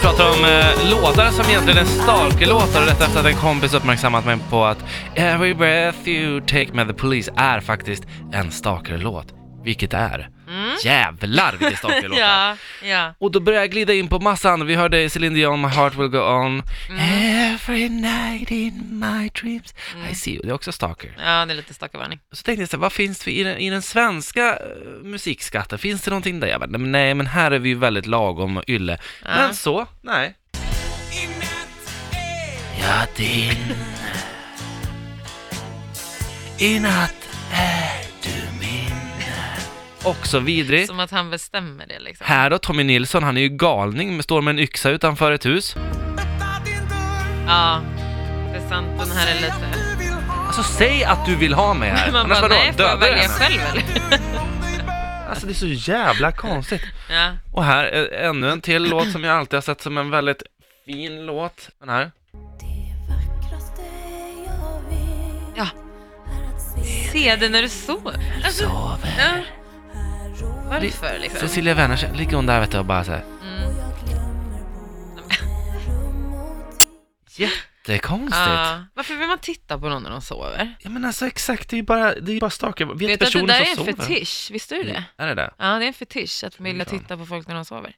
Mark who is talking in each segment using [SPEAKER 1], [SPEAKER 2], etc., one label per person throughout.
[SPEAKER 1] pratar om eh, låtar som egentligen är stalkerlåtar och detta efter att en kompis uppmärksammat mig på att “Every breath you take med the police” är faktiskt en stalkerlåt. Vilket är. Jävlar vilken stalkerlåt det är.
[SPEAKER 2] Ja, ja.
[SPEAKER 1] Och då började jag glida in på massa andra. Vi hörde Celine Dion, My Heart Will Go On. Every night in my dreams I see you. Det är också stalker.
[SPEAKER 2] ja, det är lite stalkervarning.
[SPEAKER 1] Så tänkte jag så här, vad finns det för, i, den, i den svenska eh, musikskatten? Finns det någonting där? Jag bara, nej men här är vi ju väldigt lagom och ylle. Men så, nej. Ja, din. I natt är du min. Också vidrig.
[SPEAKER 2] Som att han bestämmer det liksom.
[SPEAKER 1] Mm. Här då, Tommy Nilsson, han är ju galning, men står med en yxa utanför ett hus.
[SPEAKER 2] Ja, det är sant. Den här är lite...
[SPEAKER 1] Alltså säg att du vill ha mig här,
[SPEAKER 2] Man
[SPEAKER 1] annars
[SPEAKER 2] bara,
[SPEAKER 1] vadå?
[SPEAKER 2] nej, får jag
[SPEAKER 1] Döda
[SPEAKER 2] välja
[SPEAKER 1] henne.
[SPEAKER 2] själv eller?
[SPEAKER 1] Alltså det är så jävla konstigt.
[SPEAKER 2] Ja.
[SPEAKER 1] Och här, är ännu en till låt som jag alltid har sett som en väldigt fin låt. Den här.
[SPEAKER 3] Det vackraste jag vet
[SPEAKER 2] Ja.
[SPEAKER 3] är att se
[SPEAKER 2] Se det när du sover. Alltså,
[SPEAKER 1] Sover.
[SPEAKER 2] ja.
[SPEAKER 3] här och
[SPEAKER 2] Varför liksom?
[SPEAKER 1] Cecilia Werners, ligger hon där vet du och bara såhär,
[SPEAKER 3] jag glömmer både rum och tid
[SPEAKER 1] jättekonstigt.
[SPEAKER 2] Ja. Varför vill man titta på någon när de sover?
[SPEAKER 1] Ja men alltså exakt, det är ju bara, det är ju bara stalker. Vet,
[SPEAKER 2] Vet du att det
[SPEAKER 1] personen
[SPEAKER 2] där är
[SPEAKER 1] som
[SPEAKER 2] en
[SPEAKER 1] sover?
[SPEAKER 2] fetisch? Visste du det?
[SPEAKER 1] Mm. Är det det?
[SPEAKER 2] Ja, det är en fetisch att vilja
[SPEAKER 1] fan.
[SPEAKER 2] titta på folk när de sover.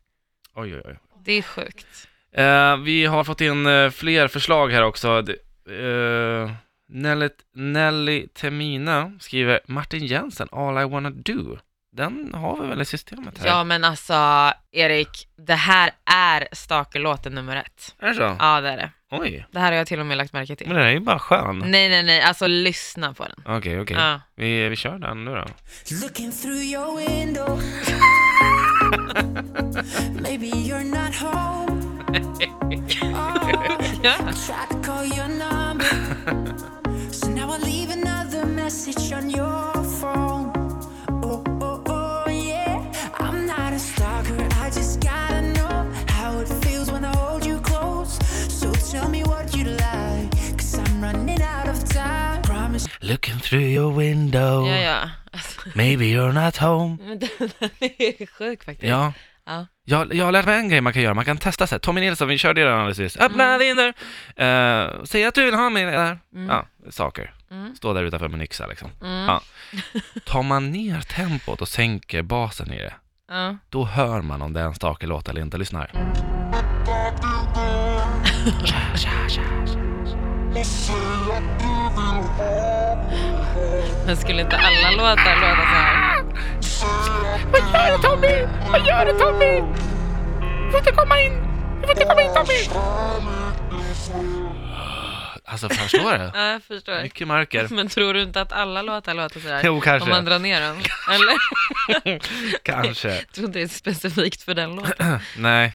[SPEAKER 1] Oj oj oj.
[SPEAKER 2] Det är sjukt.
[SPEAKER 1] Eh, vi har fått in eh, fler förslag här också. D- eh, Nelly, Nelly Temina skriver Martin Jensen, All I wanna do. Den har vi väl i systemet här?
[SPEAKER 2] Ja, men alltså Erik, det här är stalkerlåten nummer ett.
[SPEAKER 1] Är det så?
[SPEAKER 2] Ja, det är det.
[SPEAKER 1] Oj,
[SPEAKER 2] Det här har jag till och med lagt märke till.
[SPEAKER 1] men den är ju bara skön. Okej,
[SPEAKER 2] Nej, nej, nej, alltså lyssna på den.
[SPEAKER 1] okej.
[SPEAKER 2] Ja.
[SPEAKER 1] Vi, vi kör den nu då.
[SPEAKER 3] Looking through your window Maybe you're not home oh,
[SPEAKER 2] Ja.
[SPEAKER 3] I tried to call your number So now I leave another message on your phone Oh, oh, oh, yeah I'm not a stalker I just gotta know how it feels when I hold you close So tell me what you like Cause I'm running out of time Promise
[SPEAKER 1] Looking through your window,
[SPEAKER 2] Ja, ja. Alltså,
[SPEAKER 1] maybe you're not home.
[SPEAKER 2] men den, den är sjuk faktiskt.
[SPEAKER 1] Ja.
[SPEAKER 2] Ja.
[SPEAKER 1] Jag, jag har lärt mig en grej man kan göra, man kan testa sig. Tommy Nilsson, vi körde ju den alldeles nyss.
[SPEAKER 2] Mm.
[SPEAKER 1] Öppna din dörr! Eh, säg att du vill ha mig där. Ja, saker.
[SPEAKER 2] Mm.
[SPEAKER 1] Stå där utanför med en yxa liksom. Ja. Tar man ner tempot och sänker basen i det,
[SPEAKER 2] Ja.
[SPEAKER 1] då hör man om det är en stakig låt eller inte. Lyssna här.
[SPEAKER 2] Men skulle inte alla låtar låta så här?
[SPEAKER 1] Alltså förstår du?
[SPEAKER 2] Ja, jag förstår.
[SPEAKER 1] Mycket mörker.
[SPEAKER 2] Men tror du inte att alla låtar låter så här?
[SPEAKER 1] Jo, kanske.
[SPEAKER 2] Om man drar ner dem? Eller?
[SPEAKER 1] Kanske.
[SPEAKER 2] Jag tror inte det är specifikt för den låten.
[SPEAKER 1] Nej,